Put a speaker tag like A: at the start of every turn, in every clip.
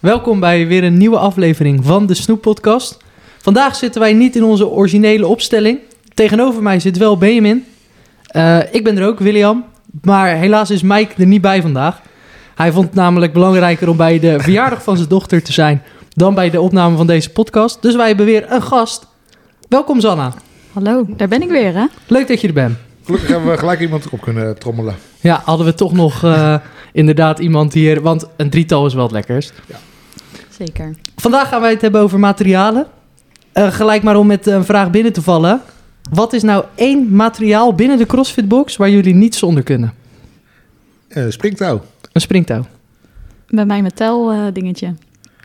A: Welkom bij weer een nieuwe aflevering van de Snoep Podcast. Vandaag zitten wij niet in onze originele opstelling. Tegenover mij zit wel Benjamin. Eh, ik ben er ook, William. Maar helaas is Mike er niet bij vandaag. Hij vond het namelijk belangrijker om bij de verjaardag van zijn dochter te zijn dan bij de opname van deze podcast. Dus wij hebben weer een gast. Welkom Zanna.
B: Hallo, daar ben ik weer, hè?
A: Leuk dat je er bent.
C: Gelukkig hebben we gelijk iemand op kunnen trommelen.
A: Ja, hadden we toch nog eh, inderdaad iemand hier, want een drietal is wel het lekkerst.
B: Zeker.
A: Vandaag gaan wij het hebben over materialen. Eh, gelijk maar om met een vraag binnen te vallen. Wat is nou één materiaal binnen de CrossFitbox waar jullie niet zonder kunnen?
C: Eh, springtouw.
A: Een springtouw.
B: Bij mij mijn teldingetje.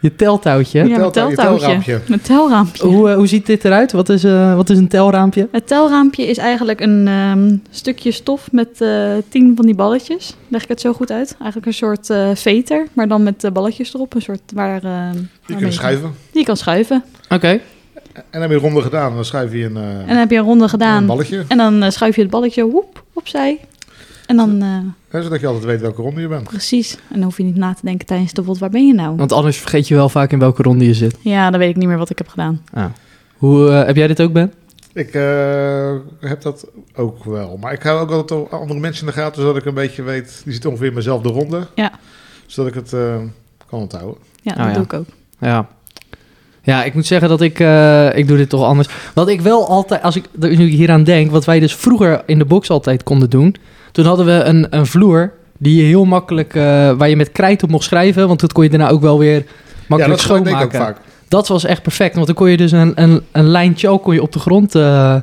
A: Je teltouwtje.
B: ja, mijn
C: teltouw, je
B: teltouwtje.
C: telraampje.
B: Mijn telraampje.
A: Hoe, eh, hoe ziet dit eruit? Wat is, eh, wat is een telraampje?
B: Het telraampje is eigenlijk een ehm, stukje stof met eh, tien van die balletjes. Leg ik het zo goed uit? Eigenlijk een soort eh, veter, maar dan met eh, balletjes erop. Een soort waar... ehm,
C: Je
B: waarmee
C: kunt schuiven.
B: Die je kan schuiven.
A: Oké.
C: En dan heb je ronde gedaan. Dan schuif je een, eh,
B: En dan heb je een ronde gedaan.
C: een balletje.
B: en dan eh, schuif je het balletje woep, opzij. En dan eh,
C: Hè, zodat je altijd weet welke ronde je bent.
B: precies. En dan hoef je niet na te denken tijdens de WOD, waar ben je
C: Oh.
B: nou?
A: Want anders vergeet je wel vaak in welke ronde je zit.
B: Ja, dan weet ik niet meer wat ik heb gedaan.
A: Hoe, eh, heb jij dit ook, Ben?
C: Ik eh, heb dat ook wel. Maar ik hou ook altijd andere mensen in de gaten. Zodat ik een beetje weet. Die zit ongeveer in mijnzelfde ronde.
B: Ja.
C: Zodat ik het eh, kan onthouden.
B: Ja,
A: Oh,
B: dat
A: ja.
B: doe ik ook.
A: Ja. Ja, ik moet zeggen dat ik... eh, ik doe dit toch anders. Wat ik wel altijd... Als ik er nu hieraan denk... Wat wij dus vroeger in de box altijd konden doen... Toen hadden we een, een vloer... Die je heel makkelijk... eh, waar je met krijt op mocht schrijven. Want dat kon je daarna ook wel weer
C: ja,
A: makkelijk
C: dat gebruik ik ook
A: schoonmaken.
C: vaak.
A: Dat was echt perfect. Want dan kon je dus een, een, een lijntje ook kon je op de grond eh,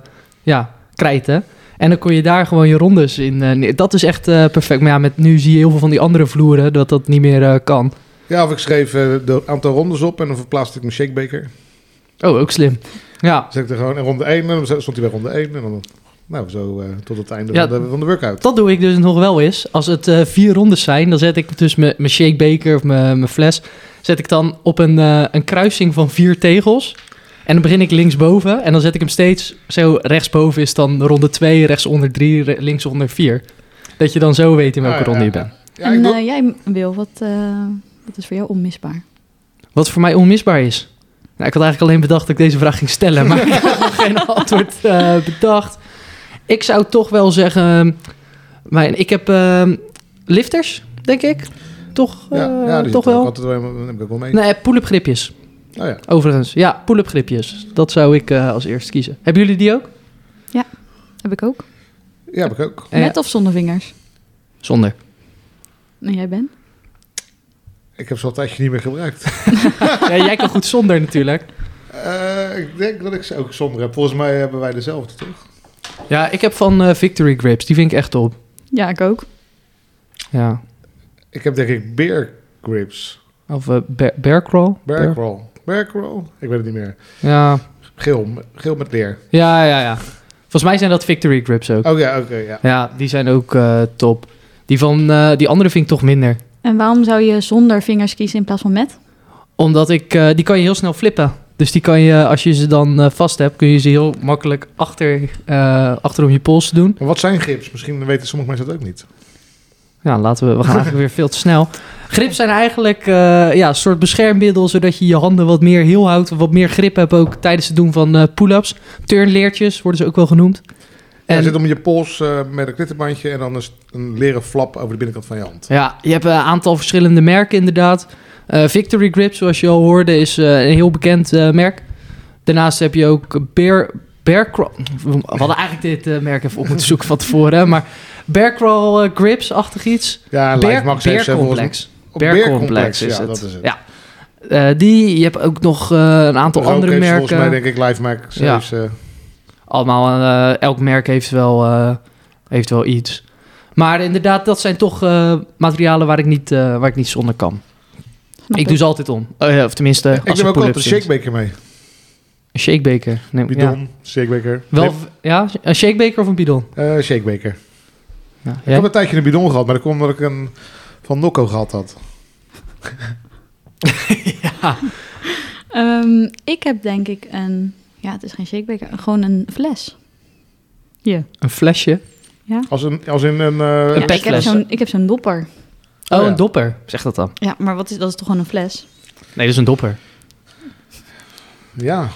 A: ja, krijten. En dan kon je daar gewoon je rondes in. eh, neer- dat is echt eh, perfect. Maar ja, met, nu zie je heel veel van die andere vloeren dat dat niet meer eh, kan.
C: Ja, of ik schreef eh de aantal rondes op. En dan verplaatste ik mijn shakebeker.
A: Oh, ook slim. Ja,
C: Dan zet ik er gewoon in ronde 1. En dan stond hij bij ronde 1. En dan nou, zo eh, tot het einde
A: Ja.
C: van, de, van de workout.
A: dat doe ik dus nog wel eens. Als het eh, vier rondes zijn, dan zet ik dus mijn mijn shakebeker of mijn mijn fles... zet ik dan op een, eh, een kruising van vier tegels. En dan begin ik linksboven. En dan zet ik hem steeds zo... rechtsboven is dan ronde twee, rechtsonder drie, re- linksonder vier. Dat je dan zo weet in welke
C: Ah, ja,
A: ronde je
C: ja,
A: bent.
C: Ja,
B: en
C: ik doe-
B: eh, jij, Wil, wat, eh, wat is voor jou onmisbaar?
A: Wat voor mij onmisbaar is? Nou, ik had eigenlijk alleen bedacht dat ik deze vraag ging stellen, maar ik had nog geen antwoord eh, bedacht. Ik zou toch wel zeggen, mijn, ik heb eh, lifters, denk ik. Toch, eh,
C: ja, ja, die
A: toch
C: zit er ook
A: wel?
C: Altijd, wel- dan heb ik ook wel mee.
A: Nee, pull-up gripjes,
C: Oh ja.
A: overigens. Ja, pull-up gripjes. Dat zou ik eh, als eerst kiezen. Hebben jullie die ook?
B: Heb ik ook.
C: Ja, heb ik ook.
A: Eh,
B: Met of zonder vingers?
A: Zonder.
B: En jij bent?
C: Ik heb ze al een tijdje niet meer gebruikt.
A: Ja, jij kan goed zonder natuurlijk.
C: Eh, ik denk dat ik ze ook zonder heb. Volgens mij hebben wij dezelfde, toch?
A: Ja, ik heb van eh, Victory Grips. Die vind ik echt top.
B: Ja, ik ook.
A: Ja.
C: Ik heb denk ik bear grips.
A: Of eh, bear, bear crawl.
C: Bear crawl. Bear crawl? Ik weet het niet meer.
A: Ja.
C: Geel. met- Geel met leer.
A: ja, ja, ja. Volgens mij zijn dat Victory Grips ook.
C: Oh ja, oké, ja.
A: Ja, die zijn ook eh, top. Die van eh, die andere vind ik toch minder.
B: En waarom zou je zonder vingers kiezen in plaats van met?
A: Omdat ik, eh, die kan je heel snel flippen. Dus die kan je, als je ze dan eh, vast hebt, kun je ze heel makkelijk achter, eh achter om je pols doen.
C: Maar wat zijn grips? Misschien weten sommige mensen dat ook niet.
A: Ja, laten we, we gaan eigenlijk weer veel te snel. Grips zijn eigenlijk eh, ja, een soort beschermmiddel, zodat je je handen wat meer heel houdt. Wat meer grip hebt ook tijdens het doen van eh, pull-ups. Turnleertjes worden ze ook wel genoemd.
C: En...
A: En-
C: zit om je pols eh, met een klittenbandje en dan een, s- een leren flap over de binnenkant van je hand.
A: Ja, je hebt eh, een aantal verschillende merken inderdaad. Eh, Victory Grip, zoals je al hoorde, is eh, een heel bekend eh, merk. Daarnaast heb je ook Bear... Bear Crawl... We hadden eigenlijk dit eh, merk even op moeten zoeken van tevoren. hè, Maar Bear Crawl eh, Grips-achtig iets.
C: Ja,
A: Bear,
C: Lifemax
A: Bear
C: heeft ze volgens mij-
A: Complex.
C: Oh,
A: Bear
C: Bear
A: Complex is
C: ja,
A: het.
C: dat is het.
A: Ja. Eh, die, je hebt ook nog eh, een aantal
C: Roke
A: andere
C: heeft ze
A: merken.
C: Volgens mij denk ik Lifemax
A: Ja.
C: heeft
B: Eh,
C: ze- eh,
A: allemaal, eh, elk merk heeft wel, eh, heeft wel iets. Maar inderdaad, dat zijn toch eh, materialen waar ik, niet, eh, waar ik niet zonder kan.
B: Snap
A: ik doe ze altijd om. Oh ja, of tenminste, als
C: Ik
A: er
C: neem ook altijd
A: pull-ups
C: een
A: zijn.
C: shakebeker mee.
A: Een shakebeker. Neem, ja.
C: Bidon, shakebeker.
A: Wel,
C: Nee,
A: ja, een shakebeker of een bidon?
C: eh, shakebeker.
A: Ja.
C: Ik heb een tijdje een bidon gehad, maar dat komt omdat ik een van Nokko gehad had.
B: Ehm, ik heb denk ik een... Ja, het is geen shakebeker. Gewoon een fles.
A: Een flesje.
C: Als een, als in een...
A: Een
C: eh,
B: ja, ik heb
A: petfles.
B: zo'n ik heb zo'n dopper.
A: Oh,
C: Oh, ja.
A: een dopper. Zeg dat dan.
B: Ja, maar wat is, dat is toch gewoon een fles?
A: Nee, dat is een dopper.
C: Ja,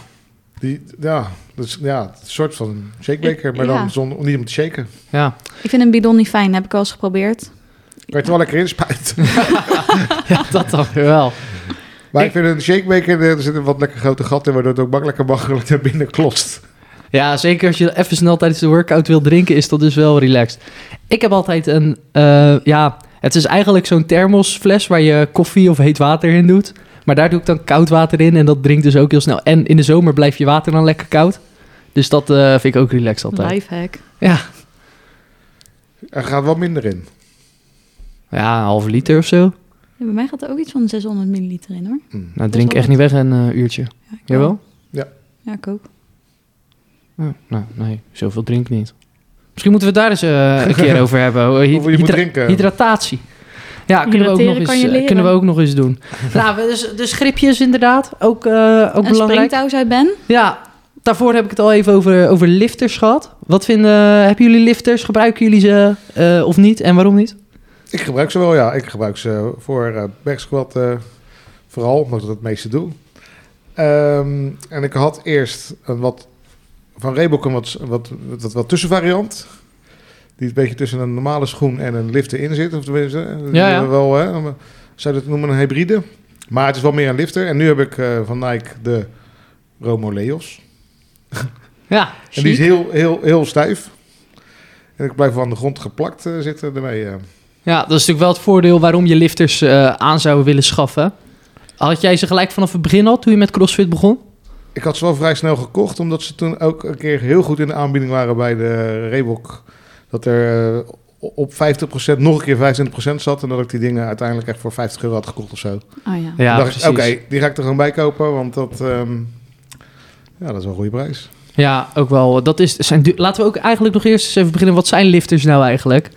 C: die, ja, dus, ja het is een soort van shakebeker, maar
B: Ja.
C: dan zonder, niet om te shaken.
A: Ja.
B: Ik vind een bidon niet fijn, heb ik al eens geprobeerd.
C: Kan je het wel lekker inspuiten.
A: ja, dat dan weer wel.
C: Maar
A: Ik-
C: ik vind een shakebeker, er zit een wat lekker grote gat in, waardoor het ook makkelijker makkelijk naar binnen klotst.
A: Ja, zeker als je even snel tijdens de workout wil drinken, is dat dus wel relaxed. Ik heb altijd een, eh, ja, het is eigenlijk zo'n thermosfles waar je koffie of heet water in doet. Maar daar doe ik dan koud water in en dat drinkt dus ook heel snel. En in de zomer blijft je water dan lekker koud. Dus dat eh, vind ik ook relaxed altijd.
B: Lifehack.
A: Ja.
C: Er gaat wel minder in.
A: ja, een halve liter of zo.
B: Ja, bij mij gaat er ook iets van 600 milliliter in hoor.
C: Hm.
A: Nou,
B: Dat is
A: drink
B: wel
A: echt niet weg een eh, uurtje.
B: Ja, ik
A: Jawel?
B: Ja, ik ook.
A: Ja, nou, nee, zoveel drink niet. Misschien moeten we het daar eens eh, een keer over hebben. Hoe hy-
C: Hoeveel je moet
A: hydra-
C: drinken.
A: Hydratatie. Ja, kunnen we, ook nog
B: Hydrateren kan
A: eens,
B: je
A: eh,
B: leren.
A: kunnen we ook nog eens doen. nou, we- dus, dus gripjes inderdaad, ook, eh, ook
B: een
A: belangrijk.
B: springtouw zei Ben.
A: Ja, daarvoor heb ik het al even over, eh, over lifters gehad. Wat vinden, eh, hebben jullie lifters? Gebruiken jullie ze eh, of niet? En waarom niet?
C: Ik gebruik ze wel, ja. Ik gebruik ze voor eh bergsquat eh, vooral, omdat ik dat het meeste doe. Ehm, en ik had eerst een wat, van Reebok een wat, wat, wat, wat tussenvariant. Die een beetje tussen een normale schoen en een lifter in zit. Of tenminste, eh, die
A: Ja, ja.
C: hebben Wel, hè, om- eh, zou je dat noemen een hybride? Maar het is wel meer een lifter. En nu heb ik eh, van Nike de Romo Leos.
A: Ja,
C: En die is heel, heel, heel stijf. En ik blijf wel aan de grond geplakt eh, zitten ermee. eh.
A: ja, dat is natuurlijk wel het voordeel waarom je lifters eh, aan zou willen schaffen. Had jij ze gelijk vanaf het begin al, toen je met CrossFit begon?
C: Ik had ze wel vrij snel gekocht, omdat ze toen ook een keer heel goed in de aanbieding waren bij de Reebok. Dat er eh, op 50% nog een keer 25% zat en dat ik die dingen uiteindelijk echt voor 50 euro had gekocht of zo.
B: Ah ja.
A: Ja,
C: Toen dacht ik, oké, die ga ik er gewoon bij kopen, want dat, ehm, ja, dat is wel een goede prijs.
A: Ja, ook wel. Dat is, zijn, du- laten we ook eigenlijk nog eerst eens even beginnen. Wat zijn lifters nou eigenlijk?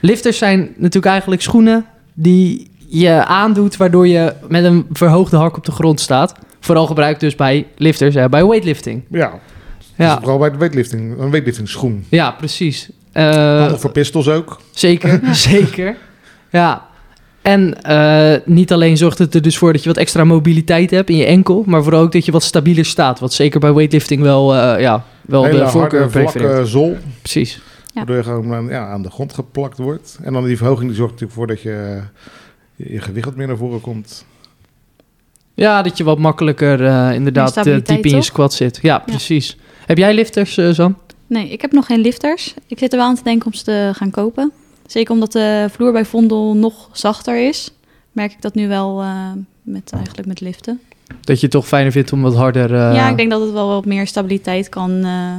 A: Lifters zijn natuurlijk eigenlijk schoenen die je aandoet... waardoor je met een verhoogde hak op de grond staat. Vooral gebruikt dus bij lifters, hè, bij weightlifting.
C: Ja, dat is
A: Ja,
C: vooral bij de weightlifting, een weightlifting schoen.
A: ja precies. Eh,
C: Handig voor pistols ook.
A: zeker, zeker. Ja. En eh, niet alleen zorgt het er dus voor dat je wat extra mobiliteit hebt in je enkel... maar vooral ook dat je wat stabieler staat. Wat zeker bij weightlifting wel, eh, ja, wel
C: Hele
A: de voorkeur
C: harde,
A: prefereert.
C: vlakke zol.
A: Precies.
B: Ja.
C: Waardoor je gewoon aan- ja, aan de grond geplakt wordt. En dan die verhoging die zorgt natuurlijk voor dat je je, je gewicht wat meer naar voren komt.
A: Ja, dat je wat makkelijker eh, inderdaad
B: Meer
A: eh,
B: stabiliteit,
A: diep in je
B: toch?
A: squat zit. Ja, precies. Heb jij lifters, eh Sam?
B: Nee, ik heb nog geen lifters. Ik zit er wel aan te denken om ze te gaan kopen. Zeker omdat de vloer bij Vondel nog zachter is, merk ik dat nu wel eh, met, eigenlijk met liften.
A: Dat je het toch fijner vindt om wat harder... eh,
B: ja, ik denk dat het wel wat meer stabiliteit kan eh,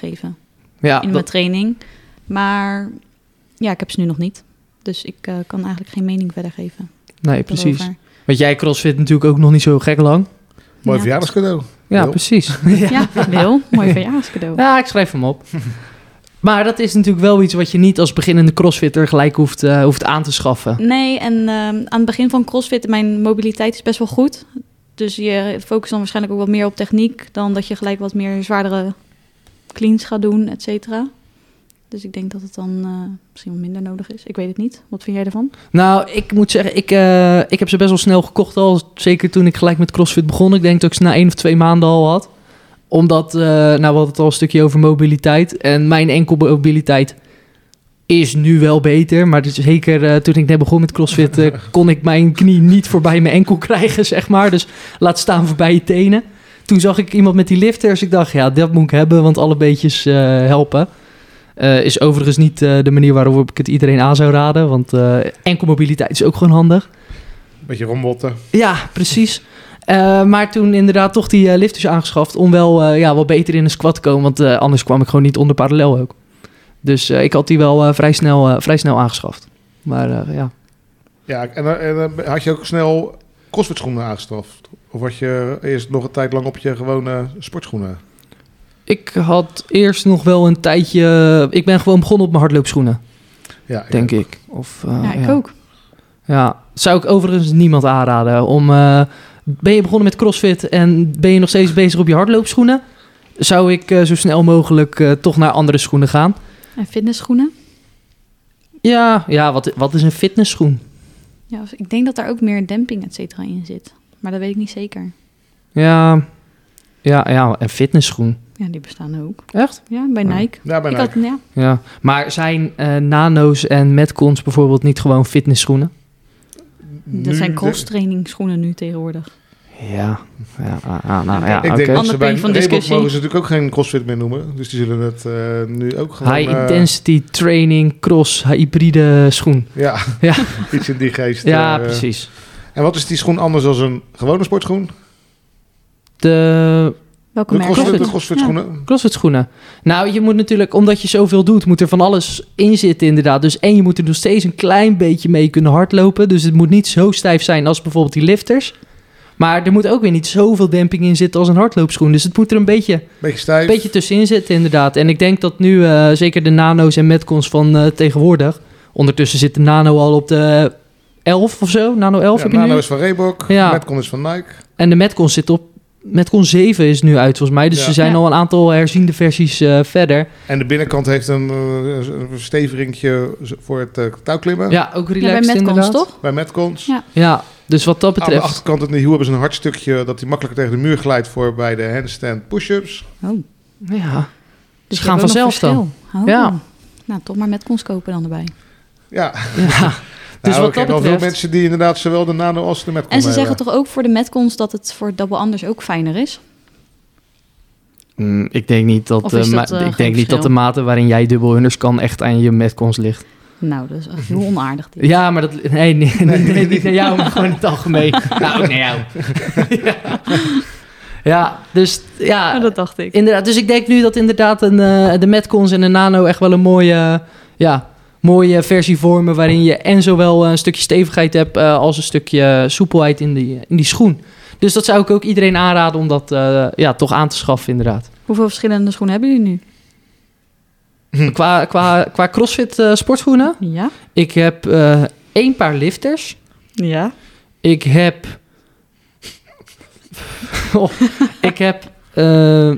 B: geven
A: ja,
B: in mijn
A: Ah, dat-
B: training. Maar ja, ik heb ze nu nog niet. Dus ik eh, kan eigenlijk geen mening verder geven.
A: Nee, precies.
B: daarover.
A: Want jij crossfit natuurlijk ook nog niet zo gek lang.
C: Mooi
B: Ja.
C: verjaardagscadeau.
A: Ja,
C: Wil.
A: precies.
B: Ja, Wil. Mooi verjaarscadeau.
A: ja, ik schrijf hem op. Maar dat is natuurlijk wel iets wat je niet als beginnende crossfitter gelijk hoeft, eh, hoeft aan te schaffen.
B: Nee, en ehm, aan het begin van CrossFit, mijn mobiliteit is best wel goed. Dus je focust dan waarschijnlijk ook wat meer op techniek... dan dat je gelijk wat meer zwaardere cleans gaat doen, et cetera. Dus ik denk dat het dan eh, misschien wat minder nodig is. Ik weet het niet. Wat vind jij ervan?
A: Nou, ik moet zeggen, ik, eh, ik heb ze best wel snel gekocht al. Zeker toen ik gelijk met CrossFit begon. Ik denk dat ik ze na één of twee maanden al had. Omdat, eh, nou we hadden het al een stukje over mobiliteit. En mijn enkelmobiliteit is nu wel beter. Maar dus zeker eh, toen ik net begon met CrossFit... eh, kon ik mijn knie niet voorbij mijn enkel krijgen, zeg maar. Dus laat staan voorbij je tenen. Toen zag ik iemand met die lifters. Ik dacht, ja, dat moet ik hebben, want alle beetjes eh, helpen. Eh, is overigens niet eh, de manier waarop ik het iedereen aan zou raden. Want eh enkel mobiliteit is ook gewoon handig.
C: Beetje rombotten.
A: Ja, precies. Eh, maar toen inderdaad toch die eh, lifters aangeschaft om wel eh, ja, wat beter in een squat te komen. Want eh, anders kwam ik gewoon niet onder parallel ook. Dus eh, ik had die wel eh, vrij, snel, eh, vrij snel aangeschaft. Maar eh, ja.
C: Ja, en, eh, en eh, had je ook snel crossfit schoenen aangestraft? Of had je eerst nog een tijd lang op je gewone sportschoenen?
A: Ik had eerst nog wel een tijdje... Ik ben gewoon begonnen op mijn hardloopschoenen,
C: Ja,
A: denk ik. Of, eh,
B: ja, ik ook.
A: Ja, zou ik overigens niemand aanraden. Om, eh, ben je begonnen met CrossFit en ben je nog steeds bezig op je hardloopschoenen? Zou ik eh, zo snel mogelijk eh, toch naar andere schoenen gaan?
B: En fitnessschoenen.
A: Ja, ja wat, wat is een fitnessschoen?
B: dus Ja, ik denk dat daar ook meer demping, et cetera, in zit. Maar dat weet ik niet zeker.
A: Ja, ja, ja en fitnessschoen.
B: Ja, die bestaan ook.
A: Echt?
B: Ja, bij
A: Ja.
B: Nike.
C: Ja, bijna.
B: Ik had, ja.
A: Ja. Maar zijn eh, nano's en metcons bijvoorbeeld niet gewoon fitnessschoenen?
B: Dat zijn cross-training schoenen nu tegenwoordig.
A: Ja, ja, ah, ah, nou ja,
B: Oké.
C: Ik denk
A: oké.
C: dat ze
B: Ander
C: bij
B: punt van
C: Reebok
B: discussie.
C: mogen ze natuurlijk ook geen crossfit meer noemen. Dus die zullen het eh, nu ook gewoon...
A: High
C: eh,
A: intensity training cross hybride schoen.
C: Ja,
A: Ja.
C: iets in die geest.
A: Ja,
C: eh.
A: precies.
C: En wat is die schoen anders dan een gewone sportschoen?
A: De
B: Welke
C: De
B: merk?
C: crossfit,
A: Crossfit.
C: de crossfit
B: Ja.
C: schoenen.
A: crossfit schoenen. Nou, je moet natuurlijk, omdat je zoveel doet, moet er van alles in zitten inderdaad. Dus en je moet er nog steeds een klein beetje mee kunnen hardlopen. Dus het moet niet zo stijf zijn als bijvoorbeeld die lifters. Maar er moet ook weer niet zoveel demping in zitten als een hardloopschoen. Dus het moet er een beetje,
C: Beetje stijf.
A: een beetje tussenin zitten inderdaad. En ik denk dat nu eh, zeker de nano's en metcons van eh, tegenwoordig... Ondertussen zit de nano al op de 11 of zo. Nano 11
C: Ja,
A: heb je nu.
C: Nano is van Reebok.
A: Ja.
C: Metcon is van Nike.
A: En de Metcon zit op. Metcon 7 is nu uit volgens mij. Dus
C: Ja.
A: ze zijn
B: Ja.
A: al een aantal herziende versies eh, verder.
C: En de binnenkant heeft een eh, een versteveringje voor het eh, touwklimmen.
A: Ja, ook
B: Ja, bij
A: relaxed
B: Metcons,
A: inderdaad.
B: toch?
C: Bij Metcons.
B: Ja.
A: Ja, dus wat dat
C: Aan de
A: betreft.
C: achterkant in de hiel hebben ze een hard stukje dat die makkelijker tegen de muur glijdt voor bij de handstand push-ups.
B: Oh.
A: Ja,
B: Dus
A: gaan vanzelf dan. Ja.
B: Ja. Oh. Nou, toch maar Metcons kopen dan erbij.
A: ja.
C: Ja,
A: Dus
C: Nou,
A: wat
C: ik ken
A: dat
C: wel veel
A: betreft.
C: mensen die inderdaad zowel de nano als de metcon
B: En ze zeggen
C: hebben.
B: toch ook voor de Metcons dat het voor Double Anders ook fijner is?
A: Mm, ik denk niet dat,
B: Of
A: de
B: is
A: ma-
B: dat, eh,
A: ik
B: geen
A: denk niet dat de
B: verschil?
A: mate waarin jij dubbelhunners kan echt aan je Metcons ligt.
B: Nou, dat is echt heel onaardig. dit.
A: Ja, maar dat. Nee, nee, nee, nee, niet naar jou, maar gewoon in het algemeen. nou, ook naar jou. ja. ja, dus ja.
B: Nou, dat dacht ik.
A: Inderdaad, dus ik denk nu dat inderdaad een, eh, de Metcons en de Nano echt wel een mooie, eh, ja, mooie versie vormen. Waarin je en zowel een stukje stevigheid hebt eh, als een stukje soepelheid in die, in die schoen. Dus dat zou ik ook iedereen aanraden om dat eh, ja, toch aan te schaffen, inderdaad.
B: Hoeveel verschillende schoenen hebben jullie nu?
A: Qua, qua, qua CrossFit eh, sportschoenen.
B: Ja.
A: Ik heb eh, één paar lifters.
B: Ja.
A: Ik heb. Oh, ik heb eh,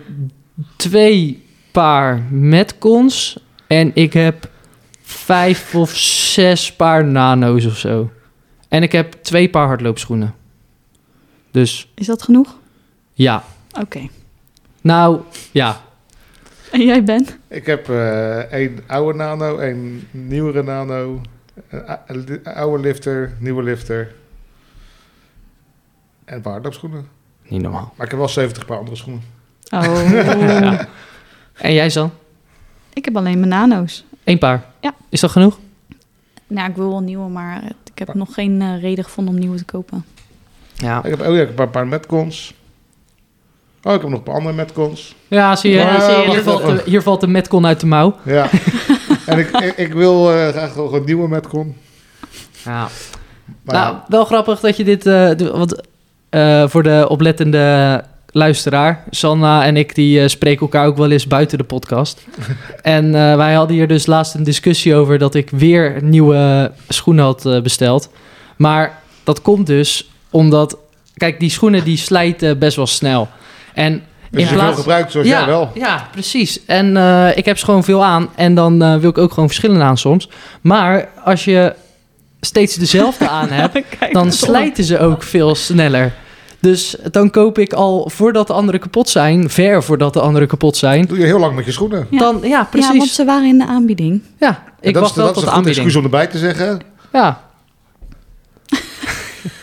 A: twee paar metcons. En ik heb vijf of zes paar nano's of zo. En ik heb twee paar hardloopschoenen. Dus
B: Is dat genoeg?
A: ja.
B: Oké.
A: Nou, ja.
B: En jij bent?
C: Ik heb eh één oude nano, één nieuwere nano, een a- een oude lifter, nieuwe lifter en een paar hardloopschoenen.
A: Niet normaal.
C: Maar ik heb wel 70 paar andere schoenen.
B: Oh.
A: Ja. En jij dan?
B: Ik heb alleen mijn nano's.
A: Eén paar.
B: Ja.
A: Is dat genoeg?
B: Nou, ik wil wel nieuwe, maar ik heb nog geen eh, reden gevonden om nieuwe te kopen.
A: Ja.
C: Ik heb, oh ja, ik heb een paar, paar metcons. Oh, ik heb nog een paar andere metcons.
A: Ja, zie je.
C: Ja,
A: zie je,
C: wacht
A: hier, valt
C: even.
A: de, hier valt de metcon uit de mouw.
C: Ja. en ik, ik, ik wil eh, graag nog een nieuwe metcon.
A: Ja.
C: Maar
A: nou, wel grappig dat je dit eh, doet. Want eh, voor de oplettende luisteraar, Sanna en ik, die eh, spreken elkaar ook wel eens buiten de podcast. en eh, wij hadden hier dus laatst een discussie over dat ik weer nieuwe schoenen had eh, besteld. Maar dat komt dus omdat, kijk, die schoenen die slijten best wel snel. En
C: dus
A: in
C: je
A: plaats-
C: veel gebruikt zoals jij wel.
A: ja, precies. En eh, ik heb ze gewoon veel aan. En dan eh, wil ik ook gewoon verschillende aan soms. Maar als je steeds dezelfde aan hebt,
B: Kijk,
A: dan slijten ze ook veel sneller. Dus dan koop ik al voordat de anderen kapot zijn, ver voordat de anderen kapot zijn.
C: doe je heel lang met je schoenen.
B: Ja.
A: Dan, ja,
B: Ja, want
A: precies.
B: ze waren in de aanbieding.
A: Ja,
C: En
A: ik
C: dat
A: wacht
C: is,
A: wel
C: dat is
A: tot
C: een goed
A: aanbieding.
C: excuus om erbij te zeggen.
A: Ja.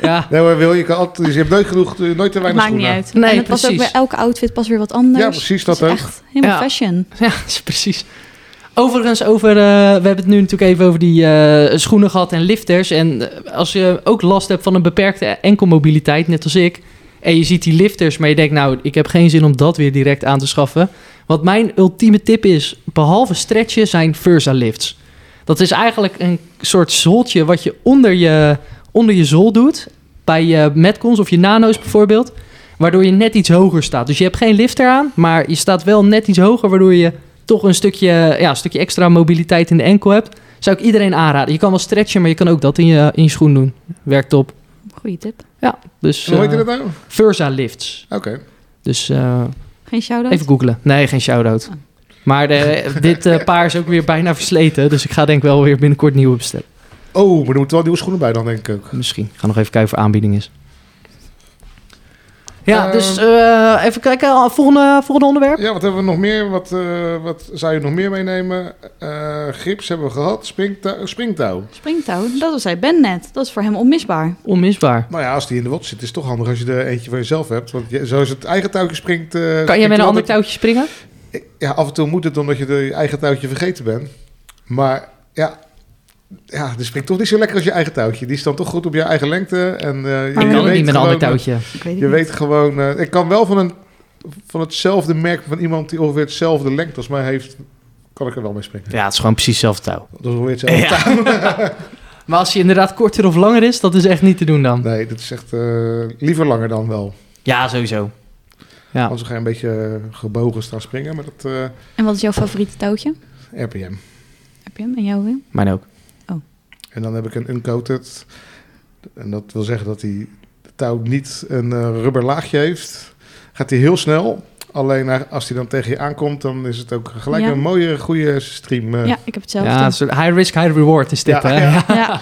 A: ja.
C: Nee, maar wil je, kan altijd, je hebt nooit genoeg, eh, nooit te weinig
B: Maakt niet
C: schoenen.
B: uit.
A: Nee,
B: en het was ook
A: precies.
B: bij elke outfit pas weer wat anders.
C: Ja, precies, dat
B: Het is
C: ook.
B: echt helemaal
A: Ja.
B: fashion.
A: Ja, dat is precies. Overigens, over, eh, we hebben het nu natuurlijk even over die eh, schoenen gehad en lifters. En eh, als je ook last hebt van een beperkte enkelmobiliteit, net als ik. En je ziet die lifters, maar je denkt, nou, ik heb geen zin om dat weer direct aan te schaffen. Wat mijn ultieme tip is, behalve stretchen, zijn Versa lifts. Dat is eigenlijk een soort zoltje wat je onder je, onder je zool doet. Bij je metcons of je nano's bijvoorbeeld. Waardoor je net iets hoger staat. Dus je hebt geen lifter aan, maar je staat wel net iets hoger. Waardoor je toch een stukje, ja, een stukje extra mobiliteit in de enkel hebt. Zou ik iedereen aanraden. Je kan wel stretchen, maar je kan ook dat in je, in je schoen doen. Werkt op.
B: Goeie tip.
A: Dus
C: Hoe heet
A: eh,
C: dat nou? Oké.
A: Versa lifts. Dus eh,
B: Geen shout-out?
A: even googlen. Nee, geen shout-out. Maar de- dit eh, paar is ook weer bijna versleten. Dus ik ga denk wel weer binnenkort nieuwe bestellen.
C: Oh, maar er moeten wel nieuwe schoenen bij dan, denk ik ook.
A: Misschien. Ik ga nog even kijken of er aanbieding is. Ja,
C: Eh,
A: dus eh, even kijken. Volgende, volgende onderwerp.
C: Ja, wat hebben we nog meer? Wat, eh, wat zou je nog meer meenemen? Eh, grips hebben we gehad. Springtou- springtouw.
B: Springtouw, dat was hij Ben net. Dat is voor hem onmisbaar.
A: Onmisbaar.
C: Nou ja, als die in de wot zit, is het toch handig als je er eentje voor jezelf hebt. Want je, zoals het eigen touwtje springt... eh,
A: Kan jij
C: springt
A: met een
C: er
A: ander
C: altijd-
A: touwtje springen?
C: Ja, af en toe moet het omdat je de- je eigen touwtje vergeten bent. Maar ja, ja, die springt toch niet zo lekker als je eigen touwtje. Die is dan toch goed op je eigen lengte. En, eh, je
B: Maar
A: Ik
B: je
A: kan ook
C: weet
A: niet met een ander
C: gewoon-
A: touwtje.
B: Ik weet het
C: Je
B: niet.
C: weet gewoon... eh, ik kan wel van, een, van hetzelfde merk van iemand die ongeveer hetzelfde lengte als mij heeft... kan ik er wel mee springen.
A: Ja, het is gewoon precies hetzelfde touw.
C: Dat is ongeveer hetzelfde touw.
A: Maar als je inderdaad korter of langer is, dat is echt niet te doen dan.
C: Nee, dat is echt eh, liever langer dan wel.
A: Ja, sowieso. Ja.
C: Anders ga je een beetje eh, gebogen staan springen met dat eh,
B: En wat is jouw favoriete touwtje?
C: RPM.
B: Heb je hem? En jouw Wim?
A: Mijn ook.
C: En dan heb ik een uncoated. En dat wil zeggen dat die de touw niet een eh, rubber laagje heeft. Gaat hij heel snel. Alleen eh, als hij dan tegen je aankomt, dan is het ook gelijk
B: Ja.
C: een mooie, goede stream. eh.
B: Ja, ik heb hetzelfde.
A: Ja,
B: Ja,
A: een soort high risk, high reward is dit.
C: Ja,
A: hè?
C: ja.
A: Ja.